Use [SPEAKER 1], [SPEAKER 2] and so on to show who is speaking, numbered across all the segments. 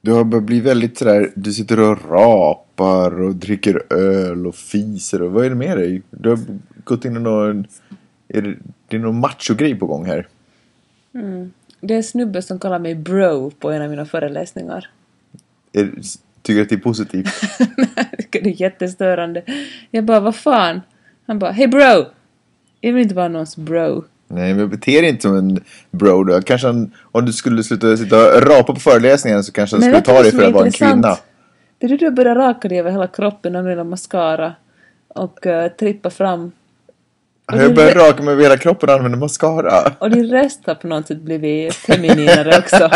[SPEAKER 1] Du har börjat bli väldigt sådär, du sitter och rapar och dricker öl och fiser och vad är det med dig? Du har gått in i någon, är det, det är någon machogrej på gång här.
[SPEAKER 2] Det är en snubbe som kallar mig bro på en av mina föreläsningar.
[SPEAKER 1] Är, tycker du att det är positivt?
[SPEAKER 2] Jag tycker det är jättestörande. Jag bara, vad fan? Han bara, hej bro! Jag vill inte vara någons bro.
[SPEAKER 1] Nej, men bete dig inte som en bro då. Kanske han, om du skulle sluta sitta och rapa på föreläsningen så kanske han skulle
[SPEAKER 2] vet du
[SPEAKER 1] ta
[SPEAKER 2] vad
[SPEAKER 1] dig
[SPEAKER 2] som
[SPEAKER 1] för
[SPEAKER 2] är
[SPEAKER 1] att vara en
[SPEAKER 2] intressant?
[SPEAKER 1] kvinna.
[SPEAKER 2] Det är då du börjar raka dig över hela kroppen och använda mascara. Och eh, trippa fram.
[SPEAKER 1] Har jag
[SPEAKER 2] det-
[SPEAKER 1] börjat raka mig över hela kroppen och använder mascara?
[SPEAKER 2] Och din röst har på något sätt blivit femininare också.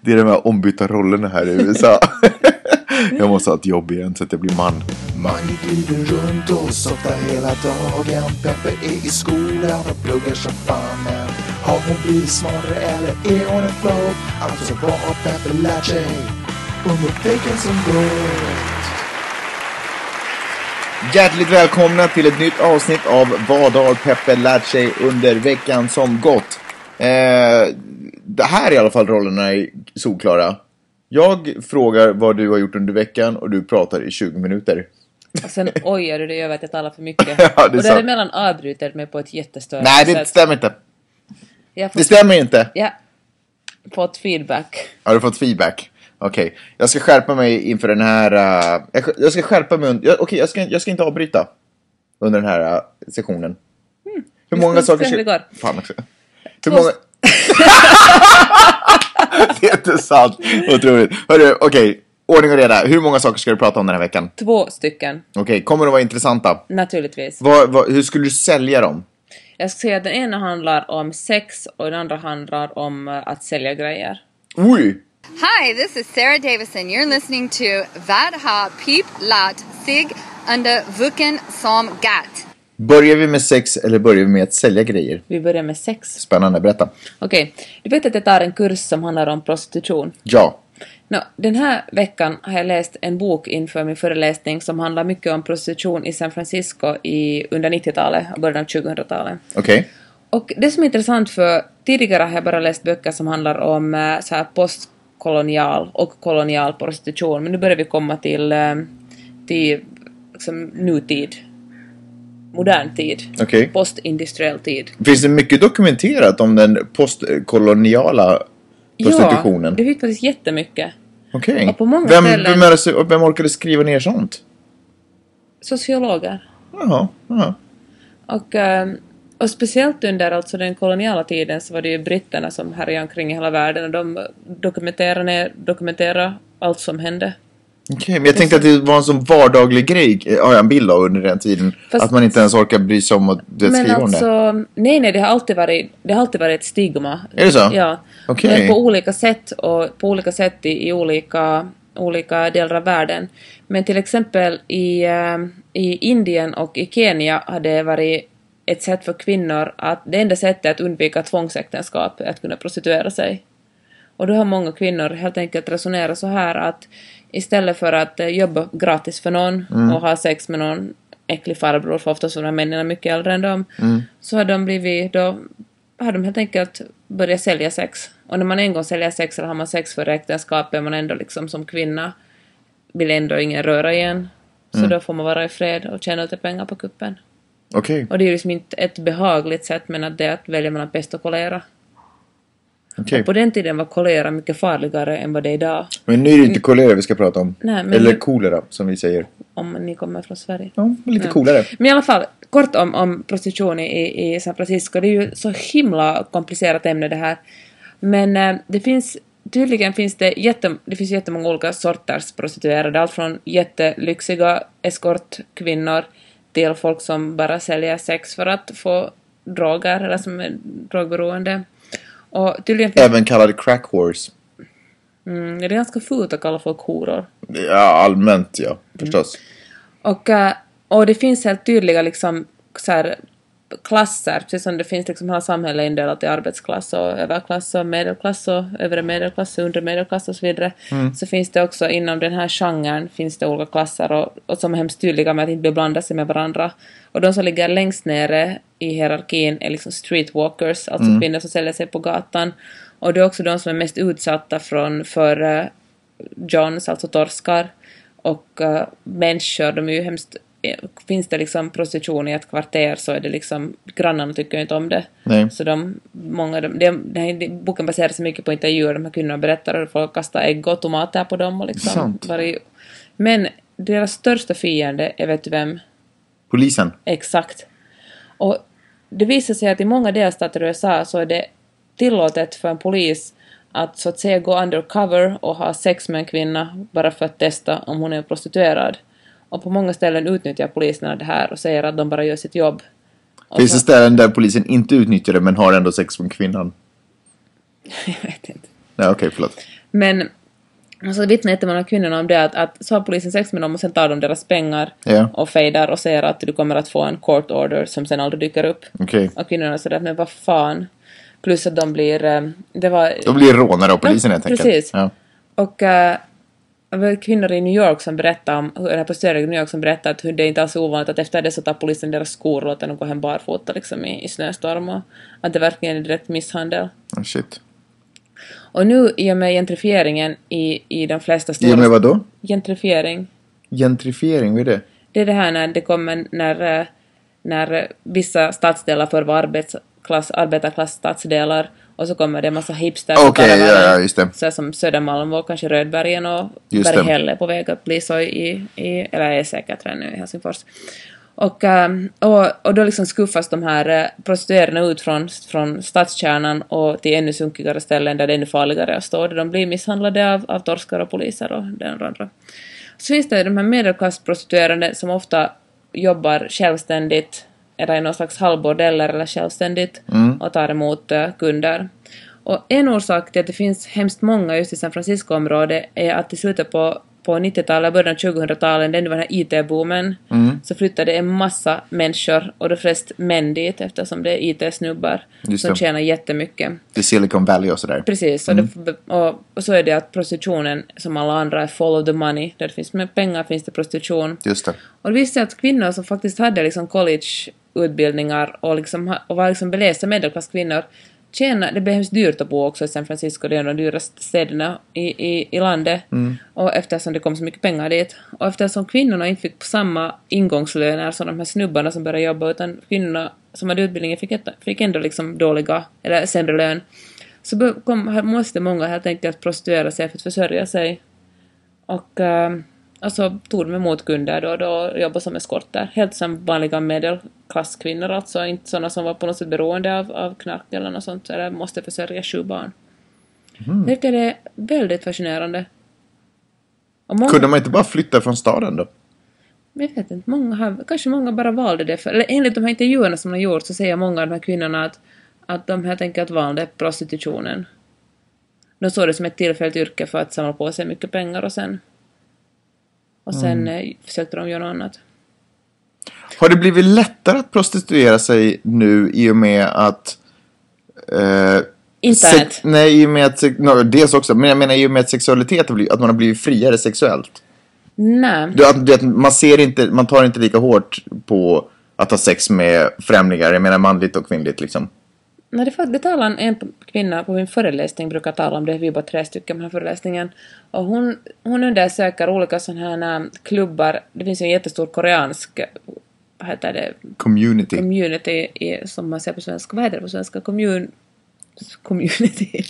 [SPEAKER 1] Det är de här ombytta rollerna här i USA. jag måste ha ett jobb igen så att jag blir man.
[SPEAKER 3] Man glider runt och softar hela dagen Peppe är i skolan och pluggar som fan men Har hon blivit smartare eller är hon en flop? Alltså vad har Peppe lärt sig under veckan som gått?
[SPEAKER 1] Hjärtligt välkomna till ett nytt avsnitt av Vad har Peppe lärt sig under veckan som gått? Eh, det här är i alla fall rollerna är solklara. Jag frågar vad du har gjort under veckan och du pratar i 20 minuter.
[SPEAKER 2] Och sen ojar du dig över att jag talar för mycket.
[SPEAKER 1] Ja, det är sant.
[SPEAKER 2] och däremellan avbryter du mig på ett jättestörande
[SPEAKER 1] Nej,
[SPEAKER 2] sätt.
[SPEAKER 1] det stämmer inte.
[SPEAKER 2] Jag har
[SPEAKER 1] Det
[SPEAKER 2] fått,
[SPEAKER 1] stämmer inte.
[SPEAKER 2] jag har fått feedback.
[SPEAKER 1] Har du fått feedback? Okej, jag ska skärpa mig inför den här... eh, jag, sk- jag ska skärpa mig... und- jag- Okej, jag, ska, jag ska inte avbryta under den här eh, sessionen. Hur
[SPEAKER 2] vi
[SPEAKER 1] många
[SPEAKER 2] ska
[SPEAKER 1] saker...
[SPEAKER 2] se hur Hmm. det går.
[SPEAKER 1] Fan också. Hur många... det är inte sant. Otroligt. Hörru, okej. Ordning och reda. Hur många saker ska du prata om den här veckan?
[SPEAKER 2] Två stycken,
[SPEAKER 1] Okej, kommer de vara intressanta?
[SPEAKER 2] naturligtvis.
[SPEAKER 1] Vad- vad- hur skulle du sälja dem?
[SPEAKER 2] Jag ska säga att den ena handlar om sex och den andra handlar om eh, att sälja grejer.
[SPEAKER 1] Oj!
[SPEAKER 4] Hi, this is Sarah Davison. You're listening to Vadha Peep Lat Sig under Vuken Som Gat.
[SPEAKER 1] Börjar vi med sex eller börjar vi med att sälja grejer?
[SPEAKER 2] Vi börjar med sex.
[SPEAKER 1] Spännande, berätta.
[SPEAKER 2] Okej, du vet att jag tar en kurs som handlar om prostitution?
[SPEAKER 1] Ja.
[SPEAKER 2] Nå, den här veckan har jag läst en bok inför min föreläsning som handlar mycket om prostitution i San Francisco i, under 90-talet och början av 2000-talet.
[SPEAKER 1] Okej.
[SPEAKER 2] Och det som är intressant för tidigare har jag bara läst böcker som handlar om eh, så här postkolonial och kolonial prostitution men nu börjar vi komma till, eh, till liksom, nutid, modern tid,
[SPEAKER 1] Okej.
[SPEAKER 2] postindustriell tid.
[SPEAKER 1] Finns det mycket dokumenterat om den postkoloniala prostitutionen?
[SPEAKER 2] Ja, det finns faktiskt jättemycket.
[SPEAKER 1] Okej.
[SPEAKER 2] och på många
[SPEAKER 1] Vem,
[SPEAKER 2] ställen-
[SPEAKER 1] vem, är det som- vem orkade skriva ner sånt?
[SPEAKER 2] Sociologer.
[SPEAKER 1] Jaha, jaha.
[SPEAKER 2] Och, eh, och speciellt under alltså den koloniala tiden så var det ju britterna som härjade omkring i hela världen och de dokumenterade, dokumenterade allt som hände.
[SPEAKER 1] Okej, men jag tänkte att det var en sån vardaglig grej, eh, har jag en bild av under den tiden.
[SPEAKER 2] Fast-
[SPEAKER 1] Att man inte ens orkar bry sig om att du vet,
[SPEAKER 2] Men
[SPEAKER 1] skriva om det.
[SPEAKER 2] alltså, nej nej, det har alltid varit, det har alltid varit ett stigma.
[SPEAKER 1] Är det så?
[SPEAKER 2] Ja.
[SPEAKER 1] Okej.
[SPEAKER 2] Men på olika sätt och på olika sätt i, i olika, olika delar av världen. Men till exempel i, eh, i Indien och i Kenya har det varit ett sätt för kvinnor att, det enda sättet att undvika tvångsäktenskap är att kunna prostituera sig. Och då har många kvinnor helt enkelt resonerat så här att istället för att eh, jobba gratis för någon och ha sex med någon äcklig farbror, för oftast var de här männen är mycket äldre än dem, så har de blivit då har de helt enkelt börjat sälja sex. Och när man en gång säljer sex eller har man sex före äktenskapet, man ändå liksom som kvinna vill ändå ingen röra igen. Så då får man vara i fred och tjäna lite pengar på kuppen.
[SPEAKER 1] Okej,
[SPEAKER 2] Och det är ju liksom inte ett behagligt sätt men att det är att välja mellan pest och kolera.
[SPEAKER 1] okej.
[SPEAKER 2] På den tiden var kolera mycket farligare än vad det är idag.
[SPEAKER 1] Men nu är det inte kolera vi ska prata om.
[SPEAKER 2] Nej, men-
[SPEAKER 1] Eller kolera, som vi säger.
[SPEAKER 2] om ni kommer från Sverige.
[SPEAKER 1] Ja, men lite coolare.
[SPEAKER 2] Men i alla fall, kort om, om prostitution i, i San Francisco. Det är ju så himla komplicerat ämne det här. Men eh, det finns Tydligen finns det, jätte, det finns jättemånga olika sorters prostituerade. Allt från jättelyxiga eskortkvinnor till folk som bara säljer sex för att få droger eller som är drogberoende. Och tydligen finns
[SPEAKER 1] Även kallad crack horse.
[SPEAKER 2] mm, det är ganska fult att kalla folk horor.
[SPEAKER 1] Ja, allmänt
[SPEAKER 2] Mm.
[SPEAKER 1] ja, förstås.
[SPEAKER 2] Och, eh, och det finns helt tydliga liksom, så här, klasser, precis som det finns liksom hela samhället indelat i arbetsklass och överklass och medelklass och övre medelklass och undre medelklass och så vidare. Så finns det också inom den här genren finns det olika klasser och, och som är hemskt tydliga med att inte blanda sig med varandra. Och de som ligger längst nere i hierarkin är liksom streetwalkers, alltså kvinnor som säljer sig på gatan. Och det är också de som är mest utsatta från, för eh, Johns, alltså torskar, och eh, människor. De är ju hemskt... eh, Finns det liksom prostitution i ett kvarter så är det liksom... Grannarna tycker ju inte om det.
[SPEAKER 1] Nej.
[SPEAKER 2] Så de, många, de, de, den här boken baserar sig mycket på intervjuer, de här kvinnorna berättar och folk kastar ägg och tomater på dem och liksom...
[SPEAKER 1] Sant.
[SPEAKER 2] varit- Men deras största fiende är, vet du vem?
[SPEAKER 1] Polisen.
[SPEAKER 2] Exakt. Och det visar sig att i många delstater i USA så är det tillåtet för en polis att så att säga gå undercover och ha sex med en kvinna bara för att testa om hon är prostituerad. Och på många ställen utnyttjar poliserna det här och säger att de bara gör sitt jobb. Och
[SPEAKER 1] Finns
[SPEAKER 2] så-
[SPEAKER 1] det ställen där polisen inte utnyttjar det men har ändå sex med kvinnan?
[SPEAKER 2] Jag vet inte.
[SPEAKER 1] Nej, okej, förlåt.
[SPEAKER 2] Men och så vittnar inte man av kvinnorna om det att, att så har polisen sex med dem och sen tar de deras pengar
[SPEAKER 1] Ja.
[SPEAKER 2] och fejdar och säger att du kommer att få en court order som sen aldrig dyker upp.
[SPEAKER 1] Okej.
[SPEAKER 2] Och kvinnorna sådär, men vad fan. Plus att de blir... eh, Det var...
[SPEAKER 1] Då blir det rånare av polisen
[SPEAKER 2] Ja,
[SPEAKER 1] helt enkelt.
[SPEAKER 2] precis.
[SPEAKER 1] Ja.
[SPEAKER 2] Och eh, det var kvinnor i New York som berättade om, eller prostituerade i New York som berättade att hur det inte alls är ovanligt att efter det så tar polisen deras skor och låter dem gå hem barfota liksom i, i snöstorm och att det verkligen är direkt misshandel.
[SPEAKER 1] Oh, shit.
[SPEAKER 2] Och nu i och med gentrifieringen i, i de flesta stora...
[SPEAKER 1] I och med vadå?
[SPEAKER 2] Gentrifiering.
[SPEAKER 1] Gentrifiering, vad är det?
[SPEAKER 2] Det är det här när det kommer när, eh, när eh, vissa stadsdelar förr var arbetsklass, arbetarklass stadsdelar och så kommer det en massa hipsters och
[SPEAKER 1] Okej, ja,
[SPEAKER 2] karavaner.
[SPEAKER 1] ja, just det.
[SPEAKER 2] Så här som Södermalm och kanske Rödbergen och
[SPEAKER 1] Just det.
[SPEAKER 2] Berghäll är på väg att bli så i, i eller är säkert redan nu i Helsingfors. Och, ehm, och, och då liksom skuffas de här eh, prostituerade ut från, från stadskärnan och till ännu sunkigare ställen där det är ännu farligare att stå, där de blir misshandlade av, av torskar och poliser och det ena och det andra. Så finns det ju de här medelklassprostituerade som ofta jobbar självständigt, eller i någon slags halvbordeller eller självständigt,
[SPEAKER 1] Mm.
[SPEAKER 2] och tar emot eh, kunder. Och en orsak till att det finns hemskt många just i San Francisco-området är att i slutet på, på 90-talet, början av 2000-talet, det var den här IT-boomen,
[SPEAKER 1] Mm.
[SPEAKER 2] så flyttade en massa människor, och de flesta män dit eftersom det är IT-snubbar
[SPEAKER 1] Just
[SPEAKER 2] som
[SPEAKER 1] det. Mm.
[SPEAKER 2] tjänar jättemycket.
[SPEAKER 1] Det är Silicon Valley och sådär.
[SPEAKER 2] Precis, och, det, och, och så är det att prostitutionen som alla andra är follow the money. Där det finns mer pengar finns det prostitution.
[SPEAKER 1] Just det.
[SPEAKER 2] Och det visste jag att kvinnor som faktiskt hade liksom collegeutbildningar och, liksom, ha- och var liksom belästa medelklasskvinnor tjäna, det blev hemskt dyrt att bo också i San Francisco, det är en av de dyraste städerna i, i, i landet. Och eftersom det kom så mycket pengar dit. Och eftersom kvinnorna inte fick samma ingångslöner som de här snubbarna som började jobba, utan kvinnorna som hade utbildningen fick, ett, fick ändå liksom dåliga, eller sämre lön. Så bör- kom, här måste många helt enkelt prostituera sig för att försörja sig. Och, eh, och så tog de emot kunder då och då och jobbade som eskorter. Helt som vanliga medelklasskvinnor alltså, inte sådana som var på något sätt beroende av, av knark eller något sånt, eller måste försörja sju barn. Jag tycker det är väldigt fascinerande. Och många,
[SPEAKER 1] Kunde man inte bara flytta från staden då?
[SPEAKER 2] jag vet inte, många har, kanske många bara valde det för, eller enligt de här intervjuerna som de har gjort så säger många av de här kvinnorna att, att de helt enkelt valde prostitutionen. De såg det som ett tillfälligt yrke för att samla på sig mycket pengar och sen och sen eh, försökte de göra något annat.
[SPEAKER 1] Har det blivit lättare att prostituera sig nu i och med att... Eh,
[SPEAKER 2] Internet.
[SPEAKER 1] sex- nej, i och med att... sex- No, dels också, men jag menar i och med att sexualitet har blivit, att man har blivit friare sexuellt.
[SPEAKER 2] Nej.
[SPEAKER 1] Du, att, du, att man ser inte, man tar inte lika hårt på att ha sex med främlingar, jag menar manligt och kvinnligt liksom.
[SPEAKER 2] Nej, det, fa- det talar en, en kvinna på min föreläsning brukar tala om det, vi är bara tre stycken på den här föreläsningen. Och hon, hon undersöker olika sådana här eh, klubbar, det finns ju en jättestor koreansk, eh, vad heter det,
[SPEAKER 1] Community.
[SPEAKER 2] community i, som man säger på svenska, vad heter det på svenska? Kommun... Community.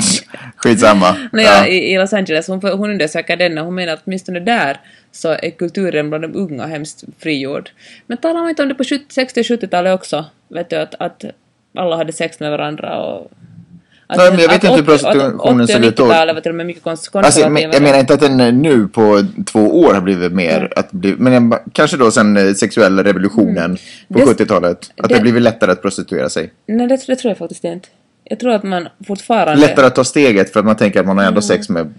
[SPEAKER 1] Skitsamma.
[SPEAKER 2] Nej,
[SPEAKER 1] Ja.
[SPEAKER 2] ja. i, i Los Angeles, hon, hon undersöker den och hon menar att åtminstone där så är kulturen bland de unga hemskt frigjord. Men talar man inte om det på 70 60 och 70-talet också? Vet du, att, att alla hade sex med varandra och... Att,
[SPEAKER 1] Nej, men jag vet inte hur
[SPEAKER 2] att 80
[SPEAKER 1] prostitutionen
[SPEAKER 2] att 80 och
[SPEAKER 1] såg ut då.
[SPEAKER 2] 90-talet var till och med mycket kons-
[SPEAKER 1] Alltså, jag,
[SPEAKER 2] konservativare.
[SPEAKER 1] men, jag menar inte att den eh, nu på två år har blivit mer, att bli, men jag, ba- kanske då sen eh, sexuella revolutionen på
[SPEAKER 2] Det-
[SPEAKER 1] 70-talet, att det,
[SPEAKER 2] Mm. det-
[SPEAKER 1] har blivit lättare att prostituera sig.
[SPEAKER 2] Nej, det, det tror jag faktiskt inte. Jag tror att man fortfarande...
[SPEAKER 1] Lättare att ta steget för att man tänker att man har ändå sex med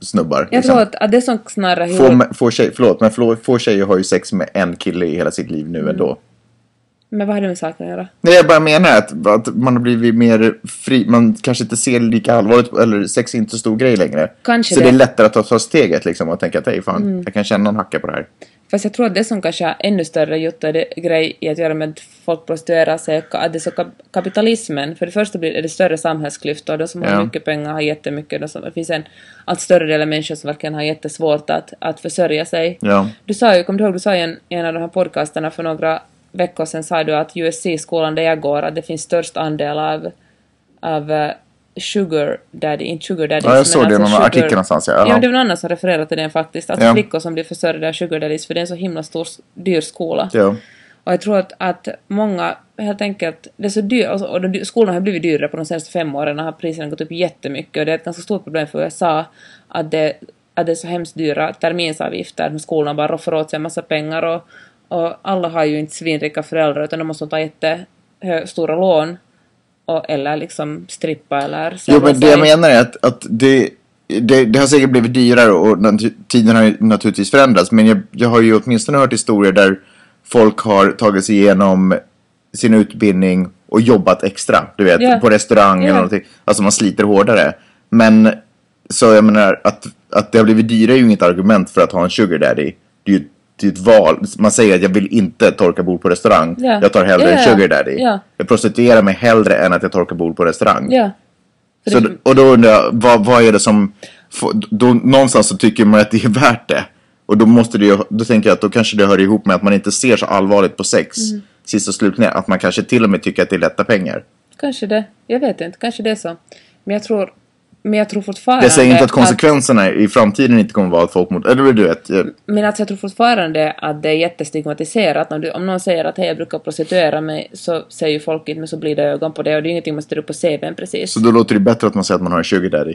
[SPEAKER 1] snubbar.
[SPEAKER 2] Mm. jag
[SPEAKER 1] liksom.
[SPEAKER 2] tror att, att det som snarare...
[SPEAKER 1] få,
[SPEAKER 2] gjorde-
[SPEAKER 1] mä- få tjej, förlåt, men få, få tjejer har ju sex med en kille i hela sitt liv nu
[SPEAKER 2] Mm.
[SPEAKER 1] ändå.
[SPEAKER 2] Men vad har det med saken att göra?
[SPEAKER 1] Nej, jag bara menar att, att man har blivit mer fri, man kanske inte ser lika allvarligt, eller sex är inte så stor grej längre.
[SPEAKER 2] Kanske
[SPEAKER 1] så det.
[SPEAKER 2] det. Mm.
[SPEAKER 1] är lättare att ta, ta steget liksom och tänka att hej fan, jag kan känna en hacka på det här.
[SPEAKER 2] Fast jag tror att det som kanske är ännu större jutta- det- grej i att göra med att folk prostituerar sig är ka- att det är så kap- kapitalismen. För det första blir är det större samhällsklyftor. De som
[SPEAKER 1] Ja.
[SPEAKER 2] har mycket pengar har jättemycket. De som, det finns en allt större del av människor som verkligen har jättesvårt att, att försörja sig.
[SPEAKER 1] Ja.
[SPEAKER 2] Du sa ju, kommer du ihåg, du sa i en, i en av de här podcasterna för några veckor sedan sa du att USC-skolan där jag går, att det finns störst andel av, av eh, sugar daddy, inte sugar daddies,
[SPEAKER 1] Ja, jag
[SPEAKER 2] men
[SPEAKER 1] såg det i någon artikel någonstans, ja.
[SPEAKER 2] Ja,
[SPEAKER 1] Jaha.
[SPEAKER 2] men det var någon annan som refererade till den faktiskt, alltså
[SPEAKER 1] Ja.
[SPEAKER 2] flickor som blir försörjda av sugar daddies, för det är en så himla stor, dyr skola.
[SPEAKER 1] Ja.
[SPEAKER 2] Och jag tror att, att många helt enkelt, det är så dyrt, och, så- och de, skolan har blivit dyrare på de senaste fem åren och har priserna gått upp jättemycket och det är ett ganska stort problem för USA att det, att det är så hemskt dyra terminsavgifter, men skolan bara roffar åt sig en massa pengar och, och alla har ju inte svinrika föräldrar utan de måste ta jättestora lån och, eller liksom strippa eller
[SPEAKER 1] Jo,
[SPEAKER 2] sälja
[SPEAKER 1] men det jag
[SPEAKER 2] sig.
[SPEAKER 1] menar är att, att det, det, det har säkert blivit dyrare och nat- tiden har ju naturligtvis förändrats. Men jag, jag har ju åtminstone hört historier där folk har tagit sig igenom sin utbildning och jobbat extra. Du vet,
[SPEAKER 2] Ja.
[SPEAKER 1] på restaurang
[SPEAKER 2] Ja.
[SPEAKER 1] eller någonting. Alltså man sliter hårdare. Men så jag menar att, att det har blivit dyrare är ju inget argument för att ha en sugar daddy. Det är ju det är ju ett val. Man säger att jag vill inte torka bord på restaurang.
[SPEAKER 2] Ja.
[SPEAKER 1] Jag tar hellre
[SPEAKER 2] Ja,
[SPEAKER 1] en
[SPEAKER 2] ja, ja.
[SPEAKER 1] sugar daddy.
[SPEAKER 2] Ja.
[SPEAKER 1] Jag prostituerar mig hellre än att jag torkar bord på restaurang.
[SPEAKER 2] Ja. För
[SPEAKER 1] Så,
[SPEAKER 2] det-
[SPEAKER 1] d- och då undrar jag, vad, vad är det som... få- Då, någonstans så tycker man att det är värt det. Och då måste det ju, då tänker jag att då kanske det hör ihop med att man inte ser så allvarligt på sex.
[SPEAKER 2] Mm.
[SPEAKER 1] Sist och slutligen, att man kanske till och med tycker att det är lätta pengar.
[SPEAKER 2] Kanske det. Jag vet inte, kanske det är så. Men jag tror, men jag tror fortfarande...
[SPEAKER 1] Jag säger inte att konsekvenserna i framtiden inte kommer vara att folk mot... Eller du vet, eh, jag-
[SPEAKER 2] Men alltså jag tror fortfarande att det är jättestigmatiserat. Om, du, om någon säger att hej jag brukar prostituera mig så säger ju folk inte men så blir det ögon på det och det är ju ingenting man ställer upp på CVn precis.
[SPEAKER 1] så då låter det bättre att man säger att man har en sugar daddy.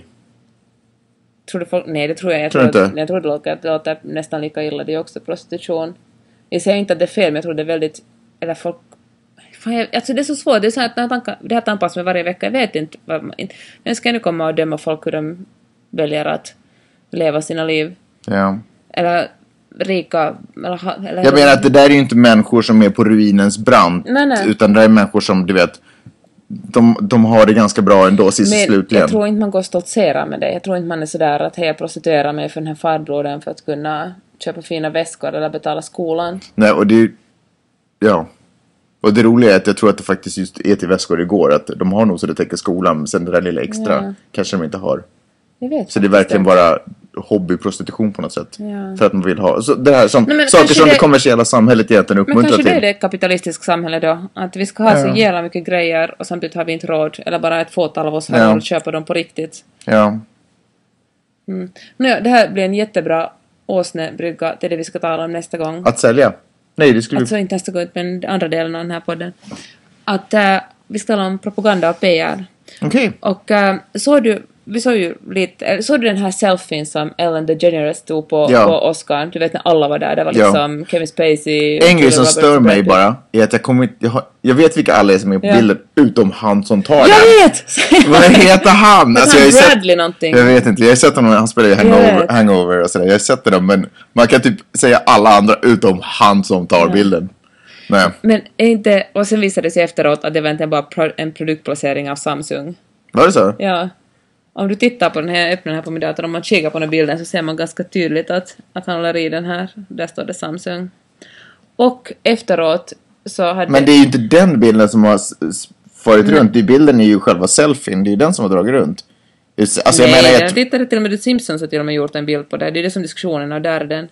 [SPEAKER 2] Tror du folk, nej det tror jag, jag
[SPEAKER 1] Tror
[SPEAKER 2] tror,
[SPEAKER 1] du
[SPEAKER 2] att,
[SPEAKER 1] inte?
[SPEAKER 2] jag tror det låter, det låter nästan lika illa det är också prostitution. Jag säger inte att det är fel men jag tror det är väldigt, eller folk Fan, jag, alltså det är så svårt, det, är så här, att när tankar, det här tampas med varje vecka, jag vet inte vad man... inte- Men ska jag nu komma och döma folk hur de väljer att leva sina liv?
[SPEAKER 1] Ja.
[SPEAKER 2] Eller rika... Eller, ha- eller
[SPEAKER 1] Jag menar att det där är ju inte människor som är på ruinens brant.
[SPEAKER 2] Nej, nej.
[SPEAKER 1] Utan det där är människor som, du vet, de, de har det ganska bra ändå sist och
[SPEAKER 2] Men
[SPEAKER 1] slutligen.
[SPEAKER 2] jag tror inte man går och stoltserar med det. Jag tror inte man är sådär att hej jag prostituerar mig för den här farbrodern för att kunna köpa fina väskor eller betala skolan.
[SPEAKER 1] Nej, och det... Ja. Och det roliga är att jag tror att det faktiskt just är till väskor igår. Att de har nog så det täcker skolan, men sen det där lilla extra
[SPEAKER 2] Ja.
[SPEAKER 1] kanske de inte har.
[SPEAKER 2] Jag vet
[SPEAKER 1] Så det är
[SPEAKER 2] faktiskt
[SPEAKER 1] verkligen
[SPEAKER 2] inte.
[SPEAKER 1] bara hobbyprostitution på något sätt.
[SPEAKER 2] Ja.
[SPEAKER 1] För att man vill ha... Så det här, som,
[SPEAKER 2] Nej, men
[SPEAKER 1] saker
[SPEAKER 2] kanske
[SPEAKER 1] som det...
[SPEAKER 2] det-
[SPEAKER 1] kommersiella samhället egentligen
[SPEAKER 2] Men
[SPEAKER 1] uppmuntrar
[SPEAKER 2] kanske det är
[SPEAKER 1] till.
[SPEAKER 2] det kapitalistiska samhället då. Att vi ska ha så jävla mycket grejer och samtidigt har vi inte råd. Eller bara ett fåtal av oss har
[SPEAKER 1] Ja.
[SPEAKER 2] råd att köpa dem på riktigt.
[SPEAKER 1] Ja.
[SPEAKER 2] Nåja, det här blir en jättebra åsnebrygga till det vi ska tala om nästa gång.
[SPEAKER 1] Att sälja. Nej, det skulle...
[SPEAKER 2] Alltså inte nästa gång men andra delen av den här podden. Att eh, vi ska tala om propaganda och PR.
[SPEAKER 1] Okej.
[SPEAKER 2] Och äh, såg du, vi såg ju lite, äh, såg du den här selfien som Ellen DeGeneres tog på,
[SPEAKER 1] Ja.
[SPEAKER 2] på Oscar? Du vet när alla var där, det var
[SPEAKER 1] Ja.
[SPEAKER 2] liksom Kevin Spacey...
[SPEAKER 1] En grej
[SPEAKER 2] Julia
[SPEAKER 1] som
[SPEAKER 2] Roberts
[SPEAKER 1] stör
[SPEAKER 2] och
[SPEAKER 1] mig
[SPEAKER 2] Brad Pitt.
[SPEAKER 1] bara är att jag kommer inte... Jag, har, jag vet vilka alla är som är på
[SPEAKER 2] Ja.
[SPEAKER 1] bilden, utom han som tar den.
[SPEAKER 2] Jag vet!
[SPEAKER 1] Vad heter han?
[SPEAKER 2] Alltså,
[SPEAKER 1] jag har
[SPEAKER 2] han
[SPEAKER 1] ju sett-
[SPEAKER 2] Bradley någonting.
[SPEAKER 1] Jag vet inte, jag har sett honom, han spelar ju
[SPEAKER 2] Jag
[SPEAKER 1] hangover,
[SPEAKER 2] vet.
[SPEAKER 1] hangover och sådär. Jag har sett dem men man kan typ säga alla andra utom han som tar bilden. Nej,
[SPEAKER 2] Men är inte, och sen visade det sig efteråt att det var egentligen bara pro, en produktplacering av Samsung.
[SPEAKER 1] var det så?
[SPEAKER 2] Ja. Om du tittar på den här, jag öppnar den här på min dator, om man kikar på den här bilden så ser man ganska tydligt att, att han håller i den här. Där står det Samsung. Och efteråt så hade...
[SPEAKER 1] Men det är ju inte den bilden som har s- s- farit runt, det är bilden är ju själva selfien, det är ju den som har dragit runt. Det är s- Alltså jag
[SPEAKER 2] Nej,
[SPEAKER 1] menar,
[SPEAKER 2] jag
[SPEAKER 1] jag, tr-
[SPEAKER 2] tittade till och med The Simpsons har till och med gjort en bild på det. Det är det som diskussionen och där är den.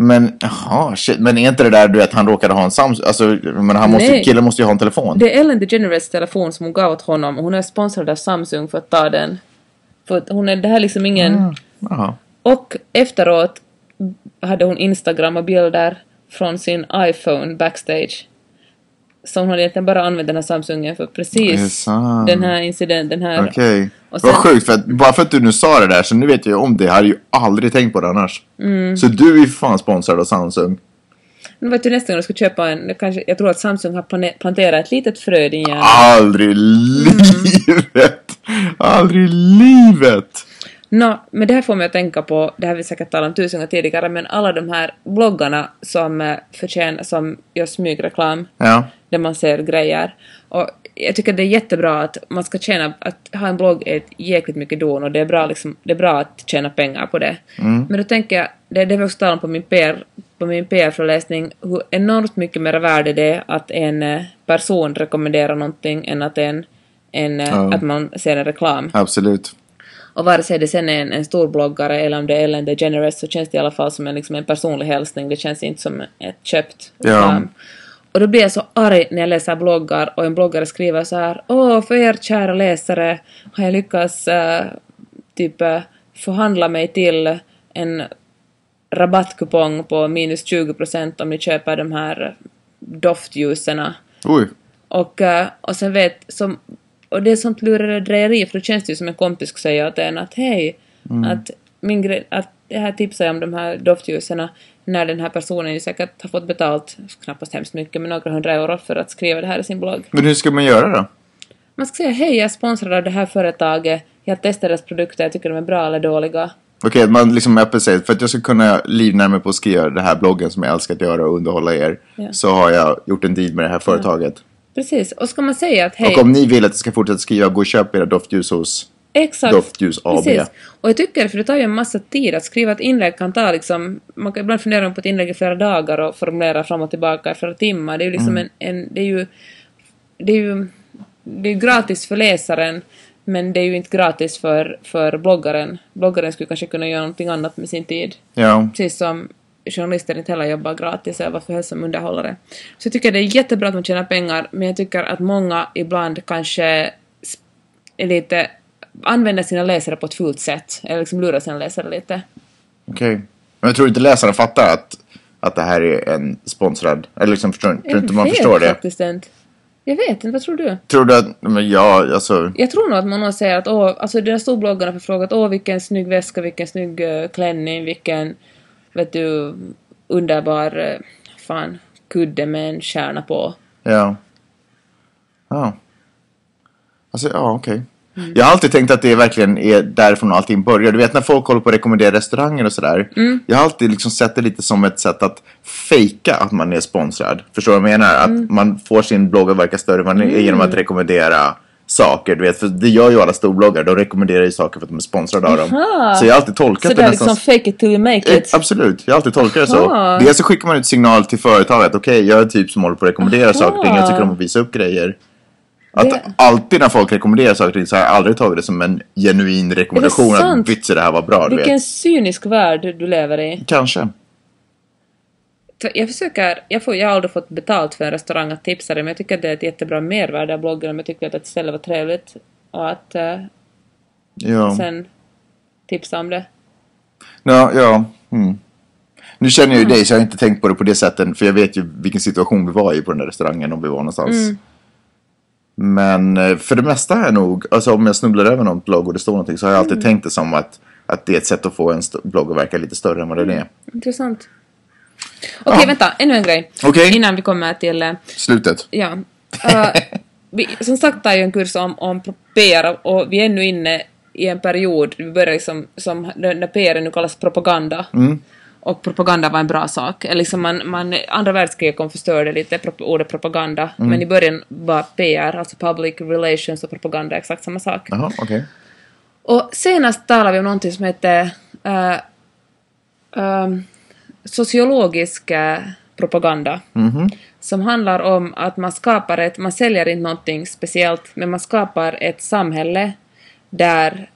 [SPEAKER 1] men jaha, shit, men är inte det där du vet, han råkade ha en Samsung, alltså men han måste,
[SPEAKER 2] Nej.
[SPEAKER 1] killen måste ju ha en telefon.
[SPEAKER 2] Det är Ellen DeGeneres telefon som hon gav åt honom och hon är sponsrad av Samsung för att ta den. För att hon är, det här är liksom ingen...
[SPEAKER 1] Jaha.
[SPEAKER 2] Och efteråt hade hon Instagram och bilder från sin iPhone backstage. Så hon hade egentligen bara använt den här Samsungen för
[SPEAKER 1] Det är
[SPEAKER 2] precis
[SPEAKER 1] sant.
[SPEAKER 2] den här incidenten, den här...
[SPEAKER 1] Okej. Vad
[SPEAKER 2] Och sen-
[SPEAKER 1] sjukt, för att, bara för att du nu sa det där så nu vet jag ju om det. Jag hade ju aldrig tänkt på det annars.
[SPEAKER 2] Mm.
[SPEAKER 1] Så du är ju fan sponsrad av Samsung.
[SPEAKER 2] Nu vet du nästa gång du ska köpa en, kanske, jag tror att Samsung har plane- planterat ett litet frö i din hjärna.
[SPEAKER 1] Aldrig i
[SPEAKER 2] Mm.
[SPEAKER 1] livet! Aldrig i livet!
[SPEAKER 2] Nå, men det här får mig att tänka på, det här har vi säkert talat om tusen gånger tidigare, men alla de här bloggarna som eh, förtjänar, som gör smygreklam,
[SPEAKER 1] Ja.
[SPEAKER 2] där man ser grejer. Och jag tycker det är jättebra att man ska tjäna, att ha en blogg är ett jäkligt mycket don och det är bra liksom, det är bra att tjäna pengar på det. Men då tänker jag, det är det vi också talar om på min PR på min PR-föreläsning hur enormt mycket mer värde det är att en eh, person rekommenderar någonting än att, en, en, eh,
[SPEAKER 1] Ja.
[SPEAKER 2] att man ser en reklam.
[SPEAKER 1] Absolut.
[SPEAKER 2] Och vare sig det sen är en, en stor bloggare eller om det är Ellen DeGeneres så känns det i alla fall som en, liksom en personlig hälsning. Det känns inte som ett köpt
[SPEAKER 1] Ja.
[SPEAKER 2] reklam. Och då blir jag så arg när jag läser bloggar och en bloggare skriver så här Åh, för er kära läsare har jag lyckats eh, typ eh, förhandla mig till en rabattkupong på minus 20% om ni köper de här doftljuserna.
[SPEAKER 1] Oj.
[SPEAKER 2] Och, eh, och sen vet, som, och det är sånt lurendrejeri för då känns det ju som en kompis skulle säga åt en att hej, att min grej, att det här tipsar jag om de här doftljusen när den här personen ju säkert har fått betalt, knappast hemskt mycket, men några hundra euro för att skriva det här i sin blogg.
[SPEAKER 1] Men hur ska man göra då?
[SPEAKER 2] Man ska säga hej, jag är sponsrad av det här företaget, jag testar deras produkter, jag tycker de är bra eller dåliga.
[SPEAKER 1] Okej, man liksom är öppet säger, för att jag ska kunna livnära mig på att skriva den här bloggen som jag älskar att göra och underhålla er.
[SPEAKER 2] Ja.
[SPEAKER 1] Så har jag gjort en deal med det här företaget.
[SPEAKER 2] Precis, och ska man säga att hej...
[SPEAKER 1] Och om ni vill att jag ska fortsätta skriva, gå och köp era doftljus hos...
[SPEAKER 2] Exakt.
[SPEAKER 1] Doftljus AB.
[SPEAKER 2] Precis. Och jag tycker, för det tar ju en massa tid att skriva ett inlägg kan ta liksom, man kan ibland fundera på ett inlägg i flera dagar och formulera fram och tillbaka i flera timmar. Det är ju liksom en, en, det är ju, det är ju, det är ju gratis för läsaren men det är ju inte gratis för, för bloggaren. Bloggaren skulle kanske kunna göra någonting annat med sin tid.
[SPEAKER 1] Ja.
[SPEAKER 2] Precis som journalister inte heller jobbar gratis eller varför helst som underhållare. Så jag tycker det är jättebra att man tjänar pengar men jag tycker att många ibland kanske sp- är lite använder sina läsare på ett fult sätt eller liksom lurar sina läsare lite.
[SPEAKER 1] Okej. Men jag tror inte läsarna fattar att, att det här är en sponsrad... Eller liksom, förstår, tror inte man
[SPEAKER 2] Jag vet
[SPEAKER 1] förstår det.
[SPEAKER 2] Faktiskt inte. Jag vet inte, vad tror du?
[SPEAKER 1] Tror du att... Men ja, alltså...
[SPEAKER 2] Jag tror nog att man någon säger att åh, alltså den här storbloggarna har frågat åh vilken snygg väska, vilken snygg eh, klänning, vilken vet du underbar eh, fan kudde med en stjärna på.
[SPEAKER 1] Ja. Ja. Alltså, ja, okej. Jag har alltid tänkt att det verkligen är därifrån allting börjar. Du vet när folk håller på att rekommendera restauranger och sådär.
[SPEAKER 2] Mm.
[SPEAKER 1] Jag har alltid liksom sett det lite som ett sätt att fejka att man är sponsrad. Förstår du vad jag menar? Att
[SPEAKER 2] Mm.
[SPEAKER 1] man får sin blogg att verka större än man är genom att rekommendera saker. Du vet, för det gör ju alla storbloggar. De rekommenderar ju saker för att de är sponsrade av dem.
[SPEAKER 2] Aha.
[SPEAKER 1] Så jag har alltid tolkat
[SPEAKER 2] Så
[SPEAKER 1] det
[SPEAKER 2] där
[SPEAKER 1] nästan
[SPEAKER 2] liksom fake it till you make it.
[SPEAKER 1] Eh, Absolut, jag har alltid tolkat det så.
[SPEAKER 2] Aha.
[SPEAKER 1] Dels så skickar man ut signal till företaget. Okej, jag är typ som håller på att rekommendera
[SPEAKER 2] Aha.
[SPEAKER 1] saker och ting. Jag tycker om att visa upp grejer. Att
[SPEAKER 2] Det-
[SPEAKER 1] alltid när folk rekommenderar saker och ting så har jag aldrig tagit det som en genuin rekommendation. Att
[SPEAKER 2] sant?
[SPEAKER 1] vitsen det här var bra, du
[SPEAKER 2] Vilken
[SPEAKER 1] vet.
[SPEAKER 2] cynisk värld du lever i.
[SPEAKER 1] Kanske.
[SPEAKER 2] Så Jag försöker, jag, får, jag har aldrig fått betalt för en restaurang att tipsa dig, men jag tycker att det är ett jättebra mervärde av bloggen om jag tycker att ett ställe var trevligt och att eh,
[SPEAKER 1] Mm. Ja.
[SPEAKER 2] sen tipsa om det.
[SPEAKER 1] Ja, ja. Mm. Nu känner jag ju dig så jag har inte tänkt på det på det sättet. För jag vet ju vilken situation vi var i på den där restaurangen om vi var någonstans.
[SPEAKER 2] Mm.
[SPEAKER 1] Men eh, för det mesta är jag nog, alltså om jag snubblar över något blogg och det står någonting så har jag
[SPEAKER 2] Mm.
[SPEAKER 1] alltid tänkt det som att, att det är ett sätt att få en st- blogg att verka lite större än vad
[SPEAKER 2] Mm.
[SPEAKER 1] den är.
[SPEAKER 2] Intressant. Okej, vänta, ännu en grej.
[SPEAKER 1] Okej.
[SPEAKER 2] Innan vi kommer till eh,
[SPEAKER 1] Slutet.
[SPEAKER 2] Ja. Eh, vi, som sagt har ju en kurs om, om PR och vi är nu inne i en period, vi börjar liksom, som när PR nu kallas propaganda. Och propaganda var en bra sak. Eller liksom man, man, andra världskriget kom och förstörde lite pro- ordet propaganda, men i början var PR, alltså public relations och propaganda exakt samma sak.
[SPEAKER 1] Jaha, okej.
[SPEAKER 2] Och senast talade vi om någonting som heter eh, ehm, sociologisk eh, propaganda.
[SPEAKER 1] Mhm.
[SPEAKER 2] Som handlar om att man skapar ett, man säljer inte någonting speciellt, men man skapar ett samhälle där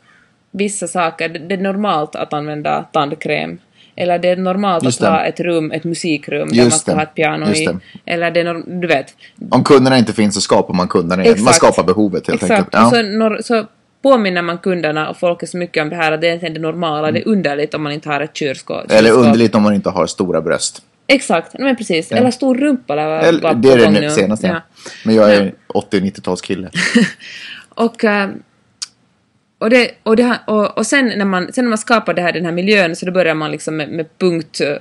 [SPEAKER 2] vissa saker, det, det är normalt att använda tandkräm. Eller det är normalt
[SPEAKER 1] Just
[SPEAKER 2] att ha
[SPEAKER 1] det.
[SPEAKER 2] ett rum, ett musikrum där
[SPEAKER 1] Just
[SPEAKER 2] man ska
[SPEAKER 1] det.
[SPEAKER 2] ha ett piano
[SPEAKER 1] Just
[SPEAKER 2] i.
[SPEAKER 1] det.
[SPEAKER 2] Eller det är, norm- du vet,
[SPEAKER 1] Om kunderna inte finns så skapar man kunderna igen. Eh, Man skapar behovet helt
[SPEAKER 2] Exakt.
[SPEAKER 1] enkelt. Ja.
[SPEAKER 2] Och så, nor- så påminner man kunderna och folket så mycket om det här att det är egentligen det normala, det är underligt om man inte har ett kylskåp.
[SPEAKER 1] Mm. Eller
[SPEAKER 2] kylskåp.
[SPEAKER 1] underligt om man inte har stora bröst.
[SPEAKER 2] Exakt, Nej, men precis. Eller stor rumpa eller vad-
[SPEAKER 1] Eller,
[SPEAKER 2] vad
[SPEAKER 1] det är
[SPEAKER 2] på
[SPEAKER 1] det
[SPEAKER 2] gång
[SPEAKER 1] nu, senaste.
[SPEAKER 2] Ja.
[SPEAKER 1] Men jag är 80-90-talskille.
[SPEAKER 2] Och, eh, och, det, och, det, här- och, och sen, när man, sen när man skapar det här, den här miljön så då börjar man liksom med, med punkt eh,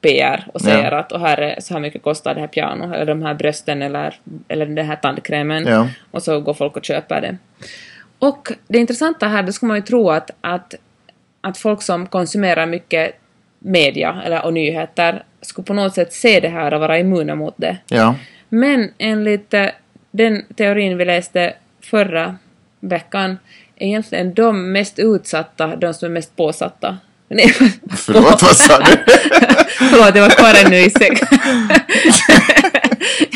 [SPEAKER 2] PR och säger
[SPEAKER 1] Ja.
[SPEAKER 2] att och här är, så här mycket kostar det här pianot eller de här brösten eller, eller den här tandkrämen
[SPEAKER 1] Ja.
[SPEAKER 2] och så går folk och köper det. Och det intressanta här, då skulle man ju tro att, att, att folk som konsumerar mycket media eller, och nyheter skulle på något sätt se det här och vara immuna mot det.
[SPEAKER 1] Ja.
[SPEAKER 2] Men enligt eh, den teorin vi läste förra veckan är egentligen de mest utsatta de som är mest påsatta. Nej,
[SPEAKER 1] Förlåt, vad sa du?
[SPEAKER 2] Förlåt, jag var kvar ännu i sex.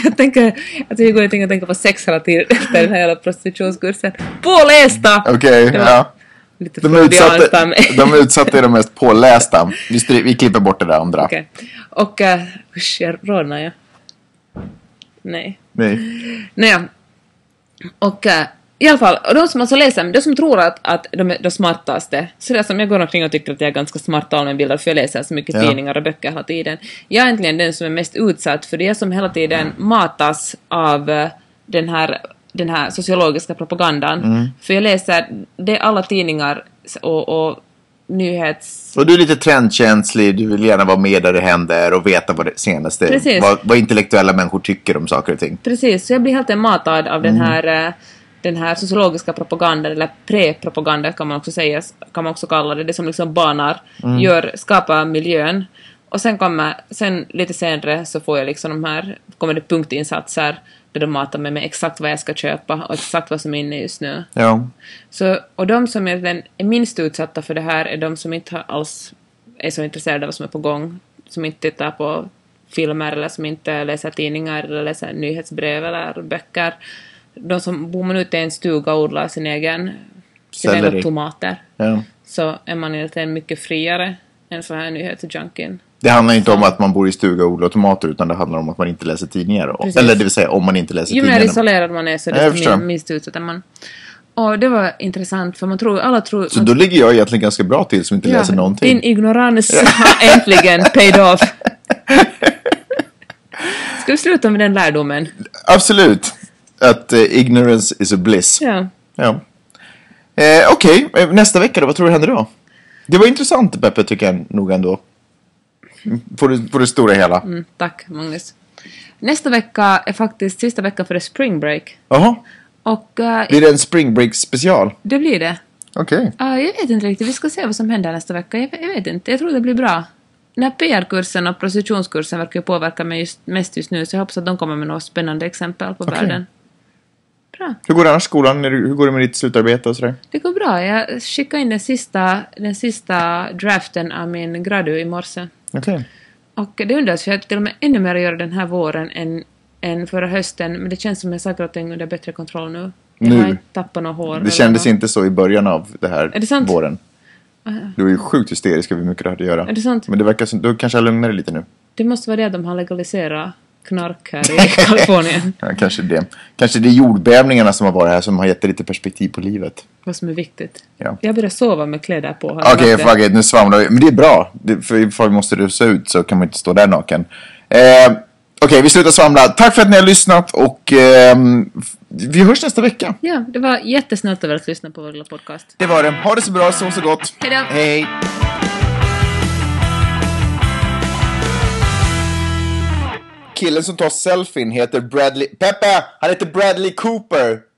[SPEAKER 2] jag tänker, alltså jag går inte att tänka på sex hela tiden efter den här jävla prostitutionskursen. Pålästa!
[SPEAKER 1] Okej,
[SPEAKER 2] Det var
[SPEAKER 1] ja.
[SPEAKER 2] Lite
[SPEAKER 1] De utsatta,
[SPEAKER 2] freudianskt av mig.
[SPEAKER 1] de utsatta är de mest pålästa. Vi, stry, vi klipper bort det där andra.
[SPEAKER 2] Okej. Och, uh, usch, jag rodnar ju. Nej.
[SPEAKER 1] Nej.
[SPEAKER 2] Nåja. Och eh, i alla fall, och de som alltså läser, de som tror att, att de är de smartaste, så det är som jag går omkring och tycker att jag är ganska smart av mig bilder för jag läser så mycket
[SPEAKER 1] Ja.
[SPEAKER 2] tidningar och böcker hela tiden. Jag är egentligen den som är mest utsatt för det är som hela tiden matas av eh, den här, den här sociologiska propagandan. För jag läser, det är alla tidningar och, och nyhets...
[SPEAKER 1] Och du är lite trendkänslig, du vill gärna vara med där det händer och veta vad det senaste,
[SPEAKER 2] Precis.
[SPEAKER 1] vad, vad intellektuella människor tycker om saker och ting.
[SPEAKER 2] Precis, så jag blir helt en matad av den här eh, den här sociologiska propagandan, eller pre-propaganda kan man också säga, kan man också kalla det, det som liksom banar, gör, skapar miljön. Och sen kommer, sen lite senare så får jag liksom de här, kommer det punktinsatser där de matar mig med exakt vad jag ska köpa och exakt vad som är inne just nu.
[SPEAKER 1] Ja.
[SPEAKER 2] Så, och de som egentligen är minst utsatta för det här är de som inte har alls är så intresserade av vad som är på gång, som inte tittar på filmer eller som inte läser tidningar eller läser nyhetsbrev eller böcker. De som bor man ute i en stuga och odlar sin egen, sina egna
[SPEAKER 1] Selleri.
[SPEAKER 2] tomater,
[SPEAKER 1] ja.
[SPEAKER 2] så är man egentligen mycket friare än så här nyhetsjunkien.
[SPEAKER 1] Det handlar inte om att man bor i stuga och odlar tomater utan det handlar om att man inte läser tidningar.
[SPEAKER 2] Precis.
[SPEAKER 1] Eller det vill säga om man inte läser
[SPEAKER 2] Ju mer
[SPEAKER 1] tidningar.
[SPEAKER 2] isolerad man är så
[SPEAKER 1] Ja, jag
[SPEAKER 2] desto
[SPEAKER 1] förstår.
[SPEAKER 2] min- minst utsatt är man. Och det var intressant för man tror, alla tror...
[SPEAKER 1] Så då ligger jag egentligen ganska bra till som inte läser någonting.
[SPEAKER 2] Din ignorans har äntligen paid off. Ska vi sluta med den lärdomen?
[SPEAKER 1] Absolut. Att eh, ignorance is a bliss.
[SPEAKER 2] Ja.
[SPEAKER 1] Ja. Eh, Okej, eh, nästa vecka då? Vad tror du händer då? Det var intressant Peppe tycker jag nog ändå. På det, på det stora hela.
[SPEAKER 2] Mm, tack, Magnus. Nästa vecka är faktiskt sista veckan för det spring break.
[SPEAKER 1] Jaha,
[SPEAKER 2] Och eh,
[SPEAKER 1] blir det en spring break special?
[SPEAKER 2] det blir det.
[SPEAKER 1] Okej.
[SPEAKER 2] Ah, jag vet inte riktigt, vi ska se vad som händer nästa vecka. Jag, jag vet inte, jag tror det blir bra. Den här PR-kursen och prostitutionskursen verkar ju påverka mig just, mest just nu så jag hoppas att de kommer med några spännande exempel på världen. Bra.
[SPEAKER 1] Hur går det annars i skolan? Är du- Hur går det med ditt slutarbete och sådär?
[SPEAKER 2] Det går bra. Jag skickade in den sista, den sista draften av min gradu i morse.
[SPEAKER 1] Okej.
[SPEAKER 2] Och det undras, för jag har till och med ännu mer att göra den här våren än, än förra hösten, men det känns som att saker och ting är under bättre kontroll nu. Jag
[SPEAKER 1] Nu?
[SPEAKER 2] har inte tappat något hår.
[SPEAKER 1] Det kändes inte så i början av det här
[SPEAKER 2] Är det sant? Ah.
[SPEAKER 1] våren. Du var ju sjukt hysterisk över hur mycket du hade att göra.
[SPEAKER 2] Är det sant?
[SPEAKER 1] Men det verkar som, du kanske har lugnat dig lite nu.
[SPEAKER 2] Det måste vara det att de har legaliserat knark här i Kalifornien.
[SPEAKER 1] Ja, kanske det. Kanske det är jordbävningarna som har varit här som har gett dig lite perspektiv på livet.
[SPEAKER 2] Vad som är viktigt.
[SPEAKER 1] Ja.
[SPEAKER 2] Jag börjar sova med kläder på. Har jag
[SPEAKER 1] Okej,
[SPEAKER 2] märkt det?
[SPEAKER 1] fuck it, nu svamlar vi. Men det är bra. Det, för ifall vi måste rusa ut så kan man inte stå där naken. Eh, Okej, vi slutar svamla. Tack för att ni har lyssnat och ehm, f- vi hörs nästa vecka.
[SPEAKER 2] Ja, det var jättesnällt av er att lyssna på vår lilla podcast.
[SPEAKER 1] Det var det. Ha det så bra, sov så gott.
[SPEAKER 2] Hej då.
[SPEAKER 1] Hej. Killen som tar selfien heter Bradley... Peppe! Han heter Bradley Cooper!